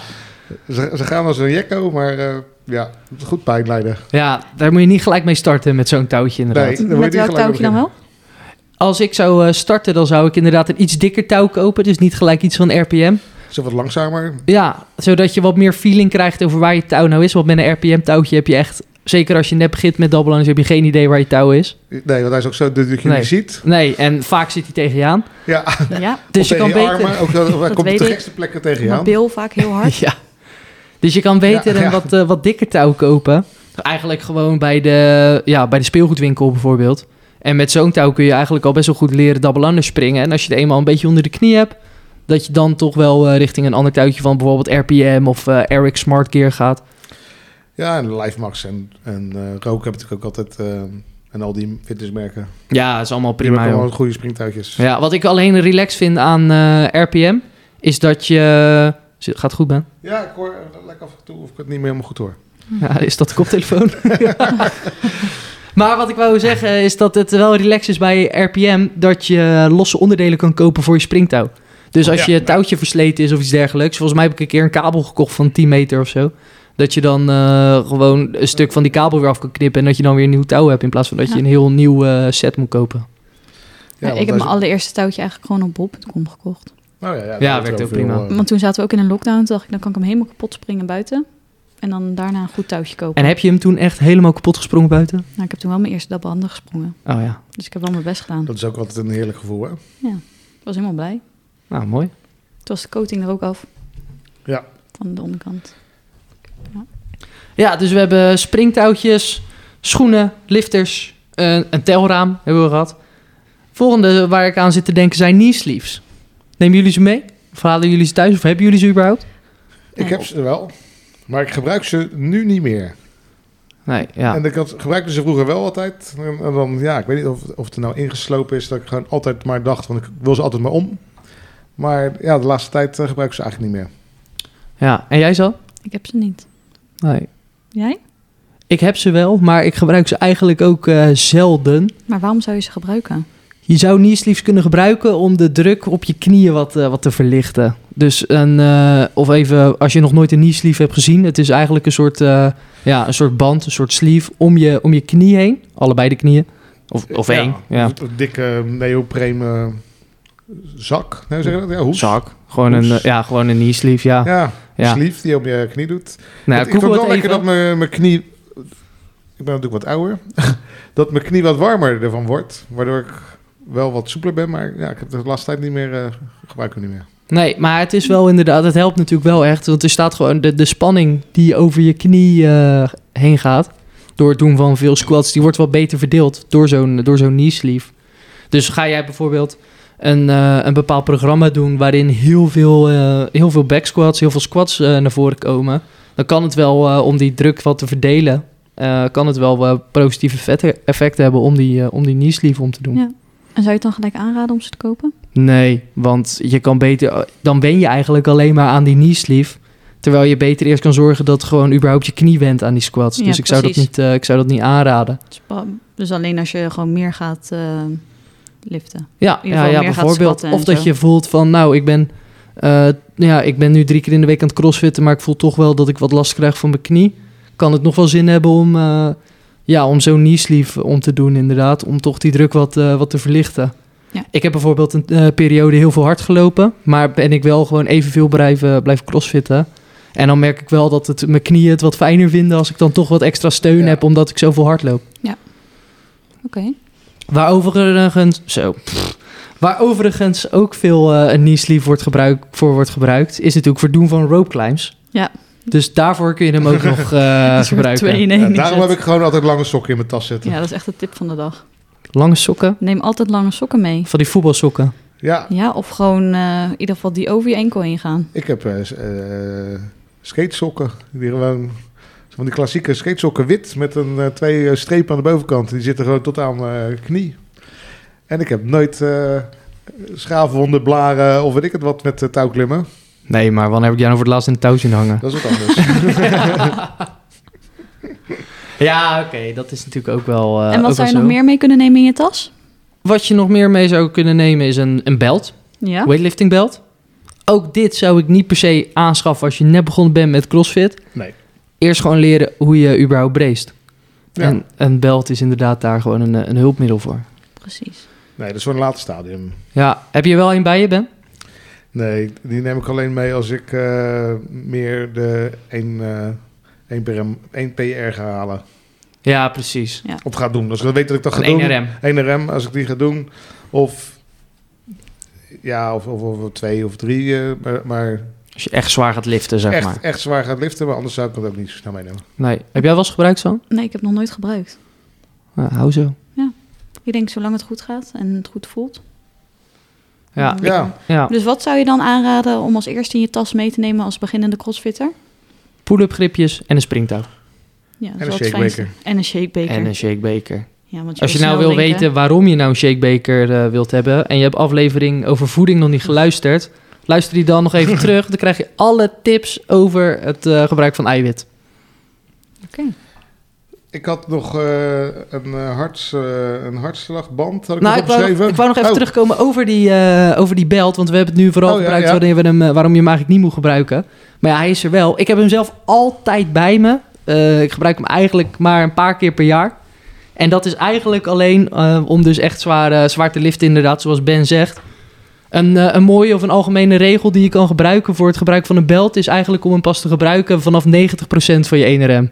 C: Ze, ze gaan als een jekko, maar eh, ja, goed pijn lijden.
A: Ja, daar moet je niet gelijk mee starten met zo'n touwtje inderdaad.
C: Nee. dan moet je
B: Met
C: die
B: welk
C: gelijk
B: touwtje dan wel?
A: Als ik zou eh, starten, dan zou ik inderdaad een iets dikker touw kopen. Dus niet gelijk iets van RPM.
C: Ze wat langzamer.
A: Ja, zodat je wat meer feeling krijgt over waar je touw nou is. Want met een RPM-touwtje heb je echt... Zeker als je net begint met double lunge, heb je geen idee waar je touw is.
C: Nee, want hij is ook zo dun dat je
A: Nee.
C: niet ziet.
A: Nee, en vaak zit hij tegen je aan.
C: Ja,
B: Ja,
A: Dus
C: of
A: je kan
C: tegen
A: beter...
C: armen. Ook, zo- hij komt op
B: weet
C: de
B: ik.
C: gekste plekken tegen je
B: mijn
C: aan.
B: bil vaak heel hard.
A: Ja. Dus je kan beter
C: Ja, ja.
A: een wat, eh, wat dikker touw kopen. Eigenlijk gewoon bij de, ja, bij de speelgoedwinkel bijvoorbeeld. En met zo'n touw kun je eigenlijk al best wel goed leren double springen. En als je het eenmaal een beetje onder de knie hebt... dat je dan toch wel eh, richting een ander touwtje van bijvoorbeeld RPM of eh, Eric Smart Gear gaat.
C: Ja, en LifeMax en, en eh Rook heb natuurlijk ook altijd. eh, en al die fitnessmerken.
A: Ja, dat is allemaal
C: Die
A: prima.
C: hebben ook
A: joh.
C: allemaal goede springtuitjes.
A: Ja, wat ik alleen relaxed vind aan eh, RPM... is dat je... Zit- Gaat goed, Ben?
C: Ja, ik hoor eh, lekker af en toe of ik het niet meer helemaal goed hoor.
A: Ja, is dat de koptelefoon? maar wat ik wou zeggen is dat het wel relaxed is bij RPM dat je losse onderdelen kan kopen voor je springtouw. Dus als
C: Ja.
A: je touwtje versleten is of iets dergelijks. Volgens mij heb ik een keer een kabel gekocht van 10 meter of zo. Dat je dan eh, gewoon een stuk van die kabel weer af kan knippen. En dat je dan weer een nieuw touw hebt. In plaats van dat je
B: Ja.
A: een heel nieuw eh, set moet kopen.
B: Ja,
C: want
B: ik heb
C: hij
B: mijn
C: is-
B: allereerste touwtje eigenlijk gewoon op bol.com gekocht.
C: Nou ja, ja, dat
A: Ja,
C: heeft
A: werkt
C: wel
A: ook prima.
C: veel, eh,
B: Want toen zaten we ook in een lockdown. Toen dacht ik, dan kan ik hem helemaal kapot springen buiten. En dan daarna een goed touwtje kopen.
A: En heb je hem toen echt helemaal kapot gesprongen buiten?
B: Nou, ik heb toen wel mijn eerste dubbelhandig gesprongen.
A: Oh ja,
B: Dus ik heb wel mijn best gedaan.
C: dat is ook altijd een heerlijk gevoel, hè?
B: Ik was helemaal blij.
A: nou mooi.
B: Toen was de coating er ook af.
C: Ja.
B: Van de onderkant.
A: Ja, dus we hebben springtouwtjes, schoenen, lifters, een, een telraam hebben we gehad. Volgende waar ik aan zit te denken zijn knee sleeves. Nemen jullie ze mee? Of halen jullie ze thuis? Of hebben jullie ze überhaupt?
B: Nee.
C: Ik heb ze wel, maar ik gebruik ze nu niet meer.
A: Nee, ja.
C: En ik had, gebruikte ze vroeger wel altijd. En, en dan, ja, ik weet niet of, of het er nou ingeslopen is dat ik gewoon altijd maar dacht, want ik wil ze altijd maar om. Maar ja, de laatste tijd eh, gebruik ik ze eigenlijk niet meer.
A: ja. En jij zo?
B: Ik heb ze niet.
A: Nee.
B: Jij?
A: Ik heb ze wel, maar ik gebruik ze eigenlijk ook eh, zelden.
B: Maar waarom zou je ze gebruiken?
A: Je zou knee sleeves kunnen gebruiken om de druk op je knieën wat, eh, wat te verlichten. Dus een, eh, of even, als je nog nooit een knee sleeve hebt gezien, het is eigenlijk een soort, eh, ja, een soort band, een soort sleeve om je, om je knie heen. Allebei de knieën. Of, of
C: Ja,
A: één. Ja.
C: Een dikke neopreen eh, zak. Nee, hoe zeg je dat? Ja, hoes.
A: Zak. Gewoon een, eh, ja, gewoon een knee sleeve, ja. ja.
C: Ja, sleeve die je op je knie doet.
A: Nou,
C: Want ik vond
A: Google het
C: wel lekker
A: even.
C: dat mijn, mijn knie... Ik ben natuurlijk wat ouder. dat mijn knie wat warmer ervan wordt. Waardoor ik wel wat soepeler ben. Maar ja, ik heb de laatste tijd niet meer... eh, gebruik ik hem niet meer.
A: Nee, maar het is wel inderdaad, het helpt natuurlijk wel echt. Want er staat gewoon de, de spanning die over je knie eh, heen gaat. Door het doen van veel squats, die wordt wel beter verdeeld door zo'n, door zo'n knee sleeve. Dus ga jij bijvoorbeeld een, eh, een bepaald programma doen waarin heel veel, eh, heel veel back squats, heel veel squats eh, naar voren komen. Dan kan het wel, eh, om die druk wat te verdelen, eh, kan het wel eh, positieve vette- effecten hebben om die, eh, om die knee sleeve om te doen.
B: Ja. En zou je het dan gelijk aanraden om ze te kopen?
A: Nee, want je kan beter, dan wen je eigenlijk alleen maar aan die knee sleeve. Terwijl je beter eerst kan zorgen dat gewoon überhaupt je knie went aan die squats.
B: Ja,
A: dus ik zou, dat
B: precies.
A: niet, eh, ik zou dat niet aanraden.
B: Dus ba- Dus alleen als je gewoon meer gaat eh, liften.
A: Ja,
B: ieder
A: ja,
B: geval
A: ja
B: meer gaat
A: bijvoorbeeld.
B: squatten en
A: Of dat
B: zo.
A: je voelt van, nou, ik ben, eh, ja, ik ben nu drie keer in de week aan het crossfitten, maar ik voel toch wel dat ik wat last krijg van mijn knie. Kan het nog wel zin hebben om eh, Ja, om zo'n knee sleeve om te doen inderdaad. Om toch die druk wat, eh, wat te verlichten.
B: Ja.
A: Ik heb bijvoorbeeld een eh, periode heel veel hard gelopen. Maar ben ik wel gewoon evenveel blijven, blijven crossfitten. En dan merk ik wel dat het, mijn knieën het wat fijner vinden... als ik dan toch wat extra steun
C: Ja.
A: heb omdat ik zoveel hard loop.
B: Oké.
A: Waar overigens, zo, pff. waar overigens ook veel eh een knee sleeve wordt gebruik, voor wordt gebruikt... is natuurlijk voor het doen van rope climbs.
B: Ja.
A: Dus daarvoor kun je hem ook nog eh,
B: Een soort
A: gebruiken.
B: twee in één
C: Ja,
B: is
C: daarom
B: het.
C: heb ik gewoon altijd lange sokken in mijn tas zitten.
B: Ja,
C: Ja,
B: dat is echt de tip van de dag.
A: Lange sokken.
B: Neem altijd lange sokken mee.
A: Van die voetbalsokken.
B: Ja, of gewoon eh, in ieder geval die over je enkel heen gaan.
C: ik heb eh, s- eh, skatesokken. Die gewoon, van die klassieke skatesokken wit met een, eh, twee eh, strepen aan de bovenkant. Die zitten gewoon tot aan mijn knie. En ik heb nooit eh schaafwonden, blaren of weet ik het wat met eh, touwklimmen.
A: Nee, maar wanneer heb ik jou nou voor het laatst in een touw zien hangen?
C: Dat is wat anders.
A: Ja, oké, dat is natuurlijk ook wel. eh,
B: en wat
A: ook
B: zou je
A: wel
B: nog
A: zo.
B: meer mee kunnen nemen in je tas?
A: Wat je nog meer mee zou kunnen nemen is een, een belt,
B: Ja.
A: weightlifting belt. Ook dit zou ik niet per se aanschaffen als je net begonnen bent met CrossFit.
C: nee.
A: Eerst gewoon leren hoe je überhaupt brace.
C: Ja.
A: En een belt is inderdaad daar gewoon een, eh, een hulpmiddel voor.
B: Precies.
C: nee, dat is voor een later stadium.
A: Ja, heb je wel een bij je, Ben?
C: Nee, die neem ik alleen mee als ik eh, meer de 1, eh 1, PM 1 PR ga halen.
A: Ja, precies.
C: Of ga doen. Als ik weet dat ik dat ga
A: Een
C: doen.
A: NRM.
C: 1 RM, als ik die ga doen. Of, ja, of, of, of twee of drie. eh, maar maar,
A: Als je echt zwaar gaat liften, zeg
C: echt,
A: maar.
C: echt zwaar gaat liften. Maar anders zou ik dat ook niet zo snel meenemen.
A: Nee. Heb jij wel eens gebruikt zo'n?
B: Nee, ik heb nog nooit gebruikt.
A: Ja, hou zo.
B: Ik denk zolang het goed gaat en het goed voelt.
A: Ja.
C: Ja,
A: ja.
B: Dus wat zou je dan aanraden om als eerste in je tas mee te nemen als beginnende crossfitter?
A: Pull-up gripjes en een springtouw.
B: Ja, dat is
C: een
B: wel het
C: shakebeker.
B: fijnste. En een shakebeker.
A: En een shakebeker.
B: Ja, want je
A: Als je
B: wil
A: nou wil
B: snel denken.
A: weten waarom je nou een shakebeker eh, wilt hebben en je hebt aflevering over voeding nog niet geluisterd, luister die dan nog even terug. Dan krijg je alle tips over het eh, gebruik van eiwit.
B: Oké.
C: ik had nog eh, een, eh, harts, eh, een hartslagband. Had ik
A: nou,
C: nog
A: ik wou,
C: opgeschreven.
A: ik wou nog even
C: Oh,
A: terugkomen over die, eh, over die belt, want we hebben het nu vooral
C: Oh, ja,
A: gebruikt
C: ja.
A: Waarin we hem, eh, waarom je hem eigenlijk niet moet gebruiken. Maar ja, hij is er wel. Ik heb hem zelf altijd bij me. Eh, ik gebruik hem eigenlijk maar een paar keer per jaar. En dat is eigenlijk alleen eh, om dus echt zwaar, eh, zwaar te liften, inderdaad, zoals Ben zegt. Een, eh, een mooie of een algemene regel die je kan gebruiken voor het gebruik van een belt is eigenlijk om hem pas te gebruiken vanaf 90% van je E ene rem.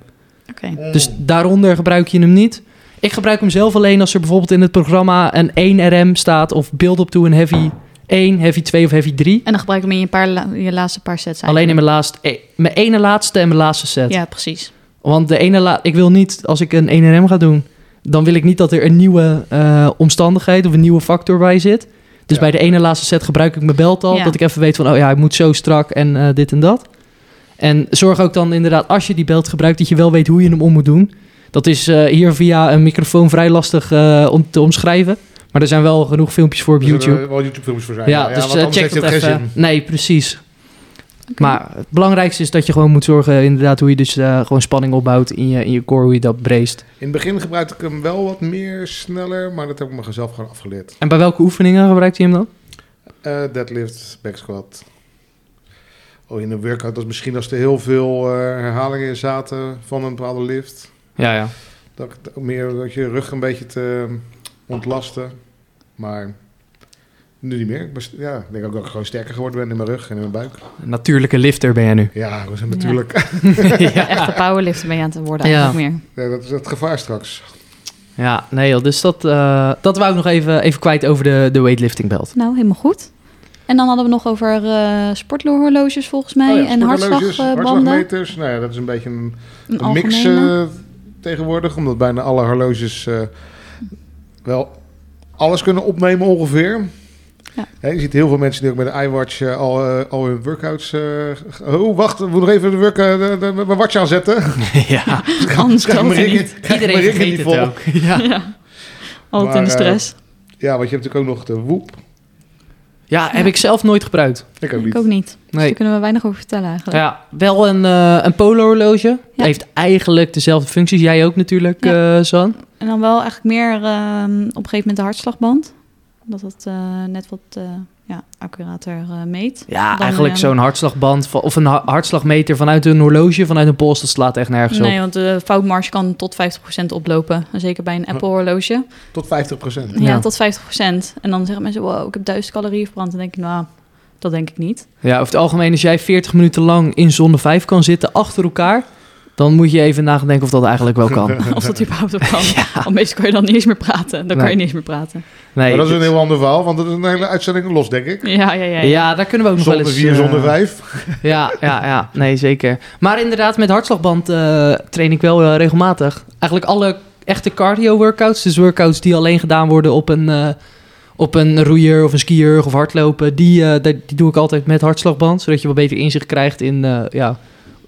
B: Oké.
C: mm,
A: Dus daaronder gebruik je hem niet. Ik gebruik hem zelf alleen als er bijvoorbeeld in het programma een 1RM staat of build op toe een heavy 1, heavy 2 of heavy 3.
B: En dan gebruik je hem in je, paar la- je laatste paar sets
A: Alleen in
B: eigenlijk.
A: mijn, laatste, eh, mijn ene laatste en mijn laatste set.
B: Ja, precies.
A: Want de ene la- ik wil niet, als ik een 1RM ga doen, dan wil ik niet dat er een nieuwe eh, omstandigheid of een nieuwe factor bij zit. Dus
C: Ja.
A: bij de ene laatste set gebruik ik mijn belt al,
B: Ja.
A: dat ik even weet van, oh ja, ik moet zo strak en eh, dit en dat. En zorg ook dan inderdaad, als je die belt gebruikt, dat je wel weet hoe je hem om moet doen. Dat is eh, hier via een microfoon vrij lastig eh, om te omschrijven. Maar er zijn wel genoeg filmpjes voor op
C: er zullen
A: YouTube.
C: wel YouTube-films voor zijn. Nou
A: ja, dus
C: want
A: eh,
C: anders
A: check
C: heeft
A: dat
C: het geen
A: even.
C: zin.
A: Nee, precies. Maar het belangrijkste is dat je gewoon moet zorgen, inderdaad, hoe je dus eh, gewoon spanning opbouwt in je, in je core, hoe je dat breest.
C: In het begin gebruikte ik hem wel wat meer sneller, maar dat heb ik mezelf gewoon afgeleerd.
A: En bij welke oefeningen gebruikt je hem dan?
C: Eh, deadlift, back squat. Oh, in een workout als misschien als er heel veel eh, herhalingen in zaten van een bepaalde lift.
A: Ja, ja.
C: Dat, ik het ook meer dat je rug een beetje te eh, ontlasten. Maar nu niet meer. Ik best- ja, ik denk ook dat ik gewoon sterker geworden ben in mijn rug en in mijn buik.
A: Natuurlijke lifter ben jij nu.
C: Ja, we zijn natuurlijk.
B: Echt de powerlifter ben je aan het worden
A: Ja.
B: eigenlijk meer.
C: Ja, dat is het gevaar straks.
A: Ja, nee joh, dus dat, eh, dat wou ik nog even, even kwijt over de, de weightlifting belt.
B: Nou, helemaal goed. En dan hadden we nog over eh sporthorloges volgens mij
C: Oh ja,
B: en eh,
C: sporthorloges,
B: hartslagbanden.
C: hartslagmeters. Nou ja, dat is een beetje een
B: Een
C: een mix
B: algemene.
C: eh, tegenwoordig, omdat bijna alle horloges eh, wel alles kunnen opnemen ongeveer.
B: Ja.
C: Hè, je ziet heel veel mensen die ook met de iWatch eh, al, eh, al hun workouts... eh, ge- oh, wacht, we moeten nog even de, work, eh, de, de- mijn watch aanzetten.
A: ja,
B: Anders
C: Krijg
B: kan
C: mijn
B: het
C: ring-
B: niet.
C: krijg mijn
A: iedereen
C: ring
A: vergeet het
C: niet vol.
A: ook. Ja.
B: Ja. Altijd
C: Maar,
B: in de
C: eh,
B: stress.
C: Ja, want je hebt natuurlijk ook nog de Whoop.
A: ja, heb ik zelf nooit gebruikt.
C: Ik ook niet.
B: Ik ook niet. Dus
A: Nee.
B: daar kunnen we weinig over vertellen eigenlijk.
A: Ja, wel een, eh een polo-horloge.
B: Ja.
A: Heeft eigenlijk dezelfde functies. Jij ook natuurlijk, eh San.
B: En dan wel eigenlijk meer ehm, op een gegeven moment de hartslagband. Dat dat eh, net wat eh, ja, accurater eh, meet.
A: Ja,
B: Dan,
A: eigenlijk
B: eh,
A: zo'n hartslagband van- of een ha- hartslagmeter vanuit een horloge, vanuit een pols, dat slaat echt nergens
B: Nee,
A: op.
B: want de foutmarge kan tot 50% oplopen. En Zeker bij een Apple-horloge.
C: Tot 50 procent.
B: Ja,
A: Oh. Ja.
B: tot 50%. En dan zeggen mensen, wow, ik heb 1000 calorieën verbrand. En dan denk ik, nou, dat denk ik niet.
A: Ja, over het algemeen, als jij 40 minuten lang in zonne 5 kan zitten achter elkaar, dan moet je even nadenken of dat eigenlijk wel kan.
B: Of dat überhaupt ook kan. Want meestal kan je dan niet eens meer praten. Dan kan
A: Nee.
B: je niet eens meer praten.
A: Nee,
C: maar dat is een
A: dit-
C: heel ander verhaal, want dat is een hele uitzending los, denk ik.
B: Ja, ja, ja. ja.
A: ja, daar kunnen we ook nog
C: Zonder
A: wel eens...
C: 4,
A: eh,
C: zonder 5.
A: Ja, ja, ja. Nee, zeker. Maar inderdaad, met hartslagband eh, train ik wel eh, regelmatig. Eigenlijk alle echte cardio-workouts, dus workouts die alleen gedaan worden op een, eh, op een roeier of een skier of hardlopen, die, eh, die, die doe ik altijd met hartslagband, zodat je wel beter inzicht krijgt in, eh, ja,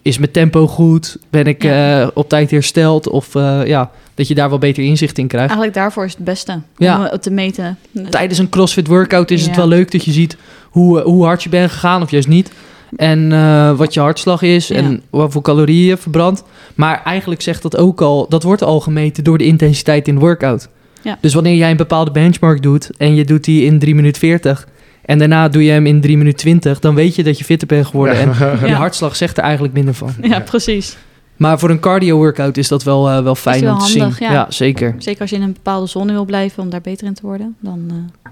A: is mijn tempo goed? Ben ik
B: Ja.
A: eh, op tijd hersteld? Of eh, ja, dat je daar wel beter inzicht in krijgt.
B: Eigenlijk daarvoor is het beste.
A: Ja.
B: Om eh, te meten.
A: Tijdens een CrossFit workout is het
B: Ja.
A: wel leuk dat je ziet hoe, eh, hoe hard je bent gegaan of juist niet. En eh, wat je hartslag is
B: Ja.
A: en hoeveel calorieën je verbrandt. Maar eigenlijk zegt dat ook al, dat wordt al gemeten door de intensiteit in de workout.
B: Ja.
A: Dus wanneer jij een bepaalde benchmark doet en je doet die in 3 minuten 40 en daarna doe je hem in 3 minuten 20, dan weet je dat je fitter bent geworden. En je
B: Ja.
A: hartslag zegt er eigenlijk minder van.
B: Ja, precies.
A: Maar voor een cardio workout is dat wel, eh, wel fijn
B: wel
A: om te
B: handig,
A: zien.
B: ja.
A: zeker.
B: Zeker als je in een bepaalde zone wil blijven om daar beter in te worden. Dan, eh.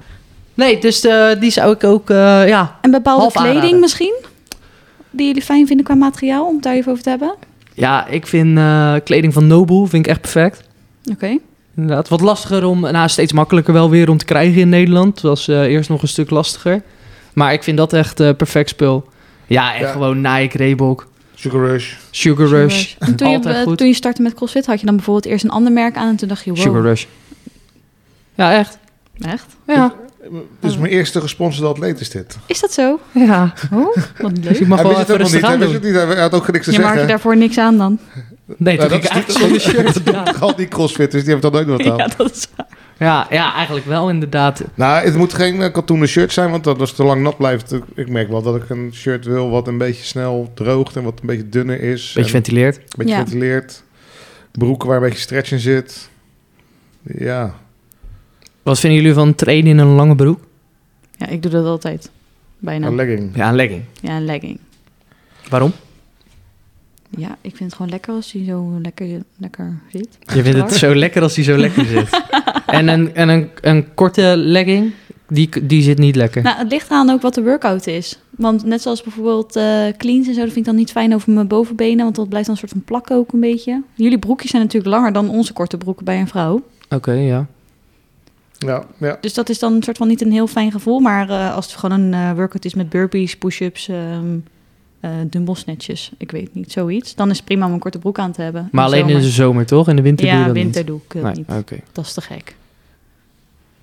A: Nee, dus eh, die zou ik ook, eh, ja,
B: En bepaalde
A: Half
B: kleding
A: aanraden.
B: misschien? Die jullie fijn vinden qua materiaal, om het daar even over te hebben? Oké.
A: Ja, ik vind eh, kleding van Noble vind ik echt perfect. Inderdaad, wat lastiger om, nou steeds makkelijker wel weer om te krijgen in Nederland. Het was eh, eerst nog een stuk lastiger. Maar ik vind dat echt eh, perfect spul. Ja, en
C: Ja.
A: gewoon Nike, Reebok,
C: Sugar Rush.
A: Sugar
B: Sugar
A: Rush.
B: Rush. En Toen je,
A: Altijd
B: eh,
A: goed.
B: toen je startte met CrossFit, had je dan bijvoorbeeld eerst een ander merk aan en toen dacht je, wow,
A: Sugar Rush. Ja, echt.
B: echt?
A: Ja,
C: Dit is mijn eerste gesponsorde atleet, is dit.
B: Is dat zo?
A: ja.
B: Oh, wat
A: Dus ik
B: leuk.
A: mag
C: Hij
A: wel
C: wist het
A: even rustig
C: helemaal niet. Hij
A: aan
C: wist het
A: doen.
C: niet. Hij had ook niks te
B: Je maakt je
C: zeggen.
B: daarvoor niks aan dan.
A: Nee,
C: Nou,
A: toen ging ik
C: dat is
A: eigenlijk zonder shirt.
C: Dat
A: Ja.
C: doet al die crossfitters, die hebben het nooit wat aan.
B: Ja, dat is waar.
A: Ja, ja, eigenlijk wel inderdaad.
C: Nou, het moet geen eh, katoenen shirt zijn, want dat als het te lang nat blijft... eh, Ik merk wel dat ik een shirt wil wat een beetje snel droogt en wat een beetje dunner is.
A: Beetje
C: en
A: ventileert.
C: een beetje
B: Ja.
C: ventileert. Broeken waar een beetje stretch in zit. Ja.
A: Wat vinden jullie van trainen in een lange broek?
B: Ja, ik doe dat altijd. Bijna.
C: Een legging.
A: Ja, een legging.
B: Ja, een legging.
A: Waarom?
B: Ja, ik vind het gewoon lekker als die zo lekker, lekker zit.
A: Je vindt het zo lekker als die zo lekker zit. en een, en een, een korte legging, die, die zit niet lekker.
B: Nou, het ligt aan ook wat de workout is. Want net zoals bijvoorbeeld eh, cleans en zo, dat vind ik dan niet fijn over mijn bovenbenen. Want dat blijft dan een soort van plakken ook een beetje. Jullie broekjes zijn natuurlijk langer dan onze korte broeken bij een vrouw.
A: Oké, ja.
C: Ja, ja.
B: Dus dat is dan een soort van niet een heel fijn gevoel. Maar eh, als het gewoon een eh, workout is met burpees, push-ups, ehm eh dumbbell snatches, ik weet niet, zoiets. Dan is het prima om een korte broek aan te hebben.
A: Maar alleen in de
B: zomer.
A: zomer, toch? In de winter doe je
B: Ja,
A: dat
B: winter
A: niet.
B: doe ik het
A: Nee,
B: niet.
A: oké.
B: Dat is te gek.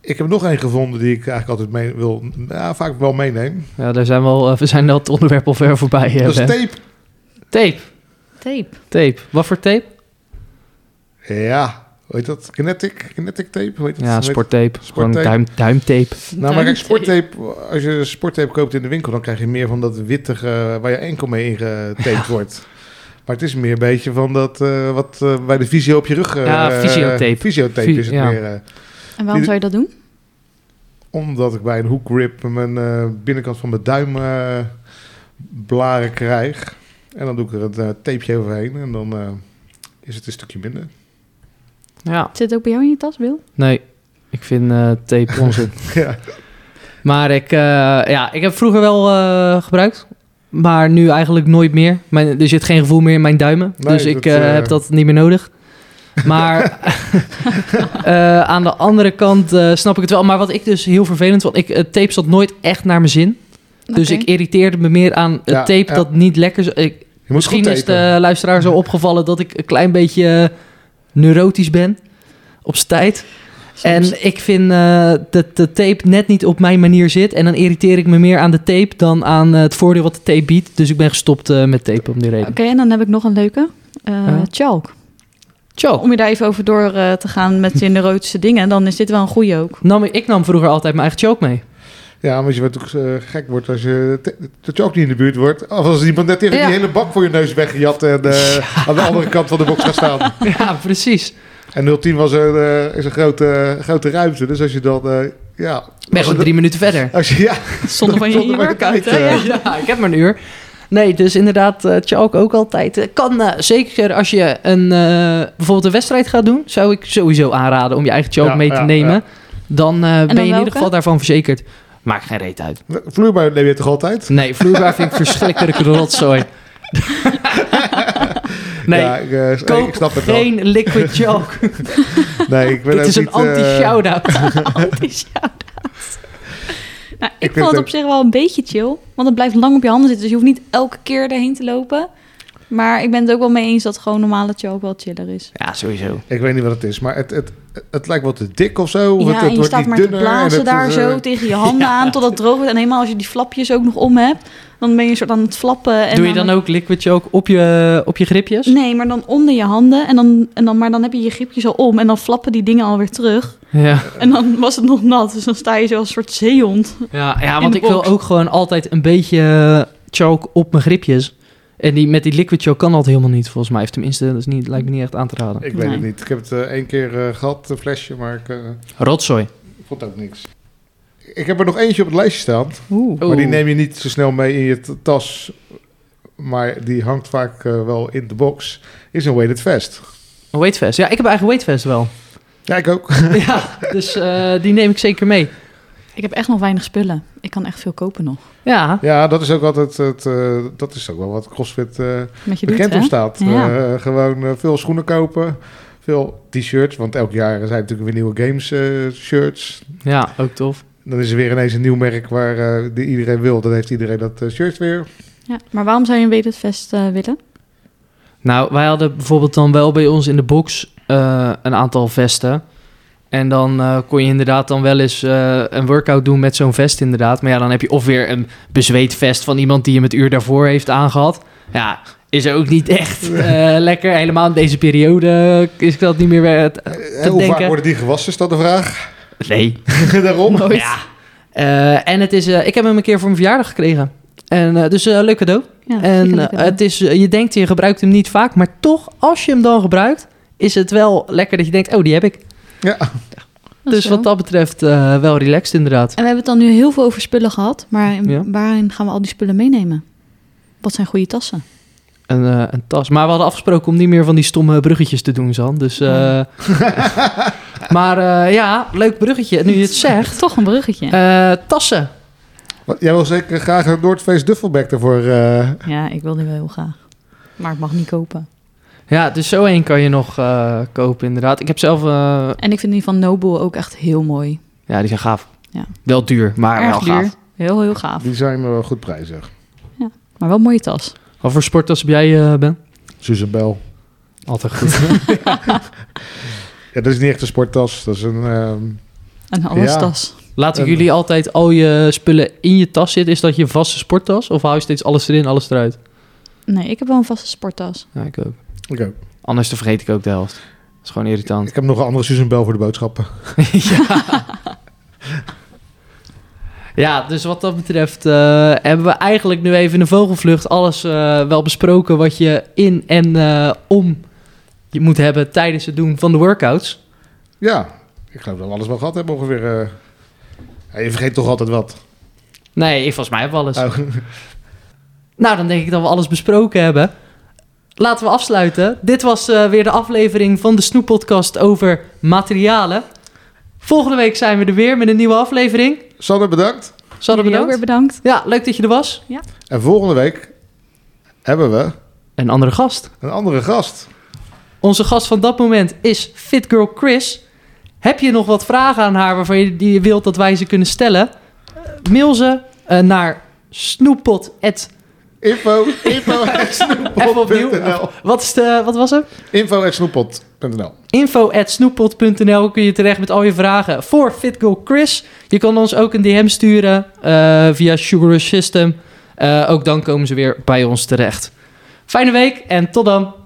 C: Ik heb nog één gevonden die ik eigenlijk altijd mee wil, ja, vaak wel meeneem.
A: Ja, daar zijn we, al, eh, we zijn al het onderwerp al ver voorbij. eh,
C: dat is
A: Ben.
C: tape.
A: Tape,
B: Tape.
A: tape. Wat voor tape?
C: Ja, hoe heet dat? Kinetic, kinetic tape? Hoe heet dat?
A: Ja,
C: Hoe heet-
A: sporttape. Gewoon
C: Sporttape.
A: duim, duimtape.
C: Nou, maar kijk, sporttape, als je sporttape koopt in de winkel, dan krijg je meer van dat wittige eh, waar je enkel mee ingetaped wordt. Maar het is meer een beetje van dat eh, wat eh, bij de visio op je rug... eh,
A: Ja,
C: eh,
A: fysiotape.
C: fysiotape
A: Fy-
C: is het
A: ja.
C: meer. eh,
B: En waarom zou je dat doen?
C: omdat ik bij een hoekgrip mijn eh, binnenkant van mijn duim eh, blaren krijg. En dan doe ik er een eh, tapeje overheen en dan eh, is het een stukje minder.
A: Ja.
B: Zit het ook bij jou in je tas, Wil?
A: Nee, ik vind eh, tape onzin.
C: ja.
A: Maar ik, eh, ja, ik heb vroeger wel eh, gebruikt. Maar nu eigenlijk nooit meer. Mijn, er zit geen gevoel meer in mijn duimen.
C: Nee,
A: dus ik
C: dat,
A: eh,
C: eh,
A: heb dat niet meer nodig. Maar eh, aan de andere kant eh, snap ik het wel. Maar wat ik dus heel vervelend vond... Ik, het tape zat nooit echt naar mijn zin. Dus ik irriteerde me meer aan het
C: Ja,
A: tape
C: ja.
A: dat niet lekker... zo- Ik,
C: Je moet
A: Misschien
C: goed
A: is
C: tapen.
A: de luisteraar zo opgevallen dat ik een klein beetje eh, neurotisch ben op z'n tijd.
B: dus-
A: En ik vind eh, dat de tape net niet op mijn manier zit. En dan irriteer ik me meer aan de tape dan aan eh, het voordeel wat de tape biedt. Dus ik ben gestopt eh, met tape om die
B: Oké,
A: reden.
B: en dan heb ik nog een leuke. Eh
A: Ja.
B: Chalk.
A: Ciao.
B: Om je daar even over door eh, te gaan met je neurotische dingen, dan is dit wel een goede ook.
A: Nam, ik nam vroeger altijd mijn eigen choke mee.
C: Ja, want je wordt ook eh, gek wordt als je te- dat je ook niet in de buurt wordt. Of als iemand net tegen
A: Ja.
C: die hele bak voor je neus weggejat en eh, aan de andere kant van de box gaat staan.
A: ja, precies.
C: En 010 was een, eh, is een grote, grote ruimte. Dus als je dan eh, ja.
A: Ben je
C: Als je
A: gewoon drie minuten verder.
C: Als je, ja,
B: Zonder van je
C: Zonder van je
B: e-workout, hè?
C: tijd,
B: Ja.
C: eh.
A: Ja, ik heb maar een uur. Nee, dus inderdaad, eh Chalk ook altijd. Eh, Kan eh, zeker als je een, eh, bijvoorbeeld een wedstrijd gaat doen, zou ik sowieso aanraden om je eigen Chalk
C: Ja,
A: mee te
C: ja,
A: nemen.
C: ja.
A: Dan eh, ben je in
B: welke?
A: ieder geval daarvan verzekerd. Maakt geen reet uit.
C: vloeibaar neem je toch altijd?
A: Nee, vloeibaar vind ik verschrikkelijke rotzooi. nee,
C: ja, ik, eh, ik
A: koop
C: snap het wel.
A: geen liquid chalk.
C: Nee, ik ben
A: Dit
C: ook
A: is een
C: niet, eh,
A: anti-shout-out.
B: Anti-shout-outs. Nou, ik,
C: vind
B: vond het
C: ook-
B: op zich wel een beetje chill. Want het blijft lang op je handen zitten. Dus je hoeft niet elke keer erheen te lopen. Maar ik ben het ook wel mee eens dat gewoon normale chill ook wel chiller is.
A: Ja, sowieso.
C: Ik weet niet wat het is, maar het, het, het lijkt wel te dik of zo. of
B: ja,
C: het, het
B: en je
C: wordt
B: staat
C: niet
B: maar te
C: dunner en
B: blazen
C: het
B: daar
C: is, eh,
B: zo tegen je handen aan totdat het droog wordt. En eenmaal als je die flapjes ook nog om hebt, dan ben je een soort aan het flappen. En
A: Doe je dan ook liquid chalk op je, op je gripjes?
B: Nee, maar dan onder je handen. En dan, en dan, maar dan heb je je gripje zo om en dan flappen die dingen alweer terug.
A: Ja.
B: En dan was het nog nat, dus dan sta je zo als een soort zeehond.
A: Ja, ja
B: In
A: want
B: de
A: ik wil
B: box.
A: ook gewoon altijd een beetje eh, chalk op mijn gripjes. En die, met die liquid chalk kan dat helemaal niet, volgens mij. Of tenminste, dat is niet, lijkt me niet echt aan te raden.
C: Ik weet het
B: Nee.
C: niet. Ik heb het eh, één keer eh, gehad, een flesje, maar ik eh,
A: Rotzooi.
C: vond ook niks. Ik heb er nog eentje op het lijstje staan,
B: Oeh.
C: maar die neem je niet zo snel mee in je t- tas. Maar die hangt vaak eh, wel in de box. Is een weighted vest.
A: Een weightfest. Ja, ik heb eigen weightfest wel.
C: Ja, ik ook.
A: ja, dus eh, die neem ik zeker mee.
B: Ik heb echt nog weinig spullen. Ik kan echt veel kopen nog.
A: Ja,
C: Ja, dat is ook altijd het. eh, dat is ook wel wat CrossFit eh,
B: Met je
C: bekend
B: doet,
C: om
B: hè?
C: staat.
B: Ja.
C: Eh, gewoon eh, veel schoenen kopen, veel t-shirts. Want elk jaar zijn natuurlijk weer nieuwe games eh, shirts.
A: ja ook tof.
C: Dan is er weer ineens een nieuw merk waar eh, die iedereen wil. Dan heeft iedereen dat eh, shirt weer.
B: Ja. Maar waarom zou je een Wedetvest eh willen?
A: Nou, wij hadden bijvoorbeeld dan wel bij ons in de box eh, een aantal vesten. En dan eh, kon je inderdaad dan wel eens eh, een workout doen met zo'n vest inderdaad. Maar ja, dan heb je of weer een bezweet vest van iemand die hem het uur daarvoor heeft aangehad. Ja, is ook niet echt eh, lekker. Helemaal in deze periode is dat niet meer... weer het-
C: Eh, hoe vaak
A: denken.
C: worden die gewassen, is dat de vraag?
A: Nee,
C: Daarom.
B: Nooit.
A: ja. Eh, en het is, eh, ik heb hem een keer voor mijn verjaardag gekregen. En, eh, dus eh, leuk cadeau. En
B: Ja, zeker lekker
A: eh,
B: doen.
A: het is, eh, je denkt, je gebruikt hem niet vaak, maar toch, als je hem dan gebruikt, is het wel lekker dat je denkt, oh, die heb ik.
B: Ah,
C: Ja.
B: Dat is
A: dus
B: wel.
A: wat dat betreft eh, wel relaxed inderdaad.
B: En we hebben het dan nu heel veel over spullen gehad. Maar in-
A: Ja.
B: waarin gaan we al die spullen meenemen? Wat zijn goede tassen?
A: Een, eh, een tas. Maar we hadden afgesproken om niet meer van die stomme bruggetjes te doen, Zan. Dus, eh,
B: Ja.
A: maar eh, ja, leuk bruggetje. Nu je het zegt.
B: Toch een bruggetje.
A: Eh, tassen.
C: Want Jij wil zeker graag een Noordface Duffelback daarvoor. eh,
B: Ja, ik wil die wel heel graag. Maar ik mag niet kopen.
A: Ja, dus zo één kan je nog eh, kopen inderdaad. Ik heb zelf... eh,
B: En ik vind die van Noble ook echt heel mooi.
A: ja, die zijn gaaf.
B: Ja.
A: Wel duur, maar
B: Erg
A: wel
B: duur.
A: gaaf.
B: Heel, heel gaaf.
C: die zijn wel goed prijzig.
B: Maar wel een mooie tas.
A: Wat voor sporttassen heb jij, eh Ben?
C: Susan Bell.
A: Altijd goed.
C: Ja, dat is niet echt een sporttas. Dat is een. ehm,
B: Een alles
C: Ja.
B: tas.
A: Laten
C: En-
A: jullie altijd al je spullen in je tas zitten? Is dat je vaste sporttas? Of hou je steeds alles erin, alles eruit?
B: Nee, ik heb wel een vaste sporttas.
A: Ja, ik ook.
C: ik, ook.
A: Anders dan vergeet ik ook de helft. Dat is gewoon irritant.
C: ik heb nog een andere Susan Bell voor de boodschappen.
A: ja. ja, dus wat dat betreft eh, hebben we eigenlijk nu even in de vogelvlucht alles eh, wel besproken wat je in en eh, om je moet hebben tijdens het doen van de workouts.
C: Ja, ik geloof dat we alles wel gehad hebben ongeveer. eh. Ja, je vergeet toch altijd wat.
A: Nee, ik volgens mij heb we alles.
C: Oh,
A: Nou, dan denk ik dat we alles besproken hebben. Laten we afsluiten. Dit was eh, weer de aflevering van de Snoeppodcast over materialen. Volgende week zijn we er weer met een nieuwe aflevering.
C: Sanne, bedankt.
A: Sanne,
B: Jullie ook weer
A: bedankt.
B: bedankt.
A: Ja, leuk dat je er was.
C: En volgende week hebben we
A: Een andere gast.
C: een andere gast.
A: Onze gast van dat moment is Fit Girl Chris. Heb je nog wat vragen aan haar waarvan je die je wilt dat wij ze kunnen stellen? Eh, Mail ze eh, naar snoeppot.
C: Info, info at
A: Even opnieuw.
C: snoeppot.nl.
A: Wat, is de, wat was het?
C: Info at snoeppot.nl.
A: info.snoeppot.nl kun je terecht met al je vragen voor FitGirl Chris. Je kan ons ook een DM sturen eh, via Sugar Rush System. Eh, ook dan komen ze weer bij ons terecht. Fijne week en tot dan.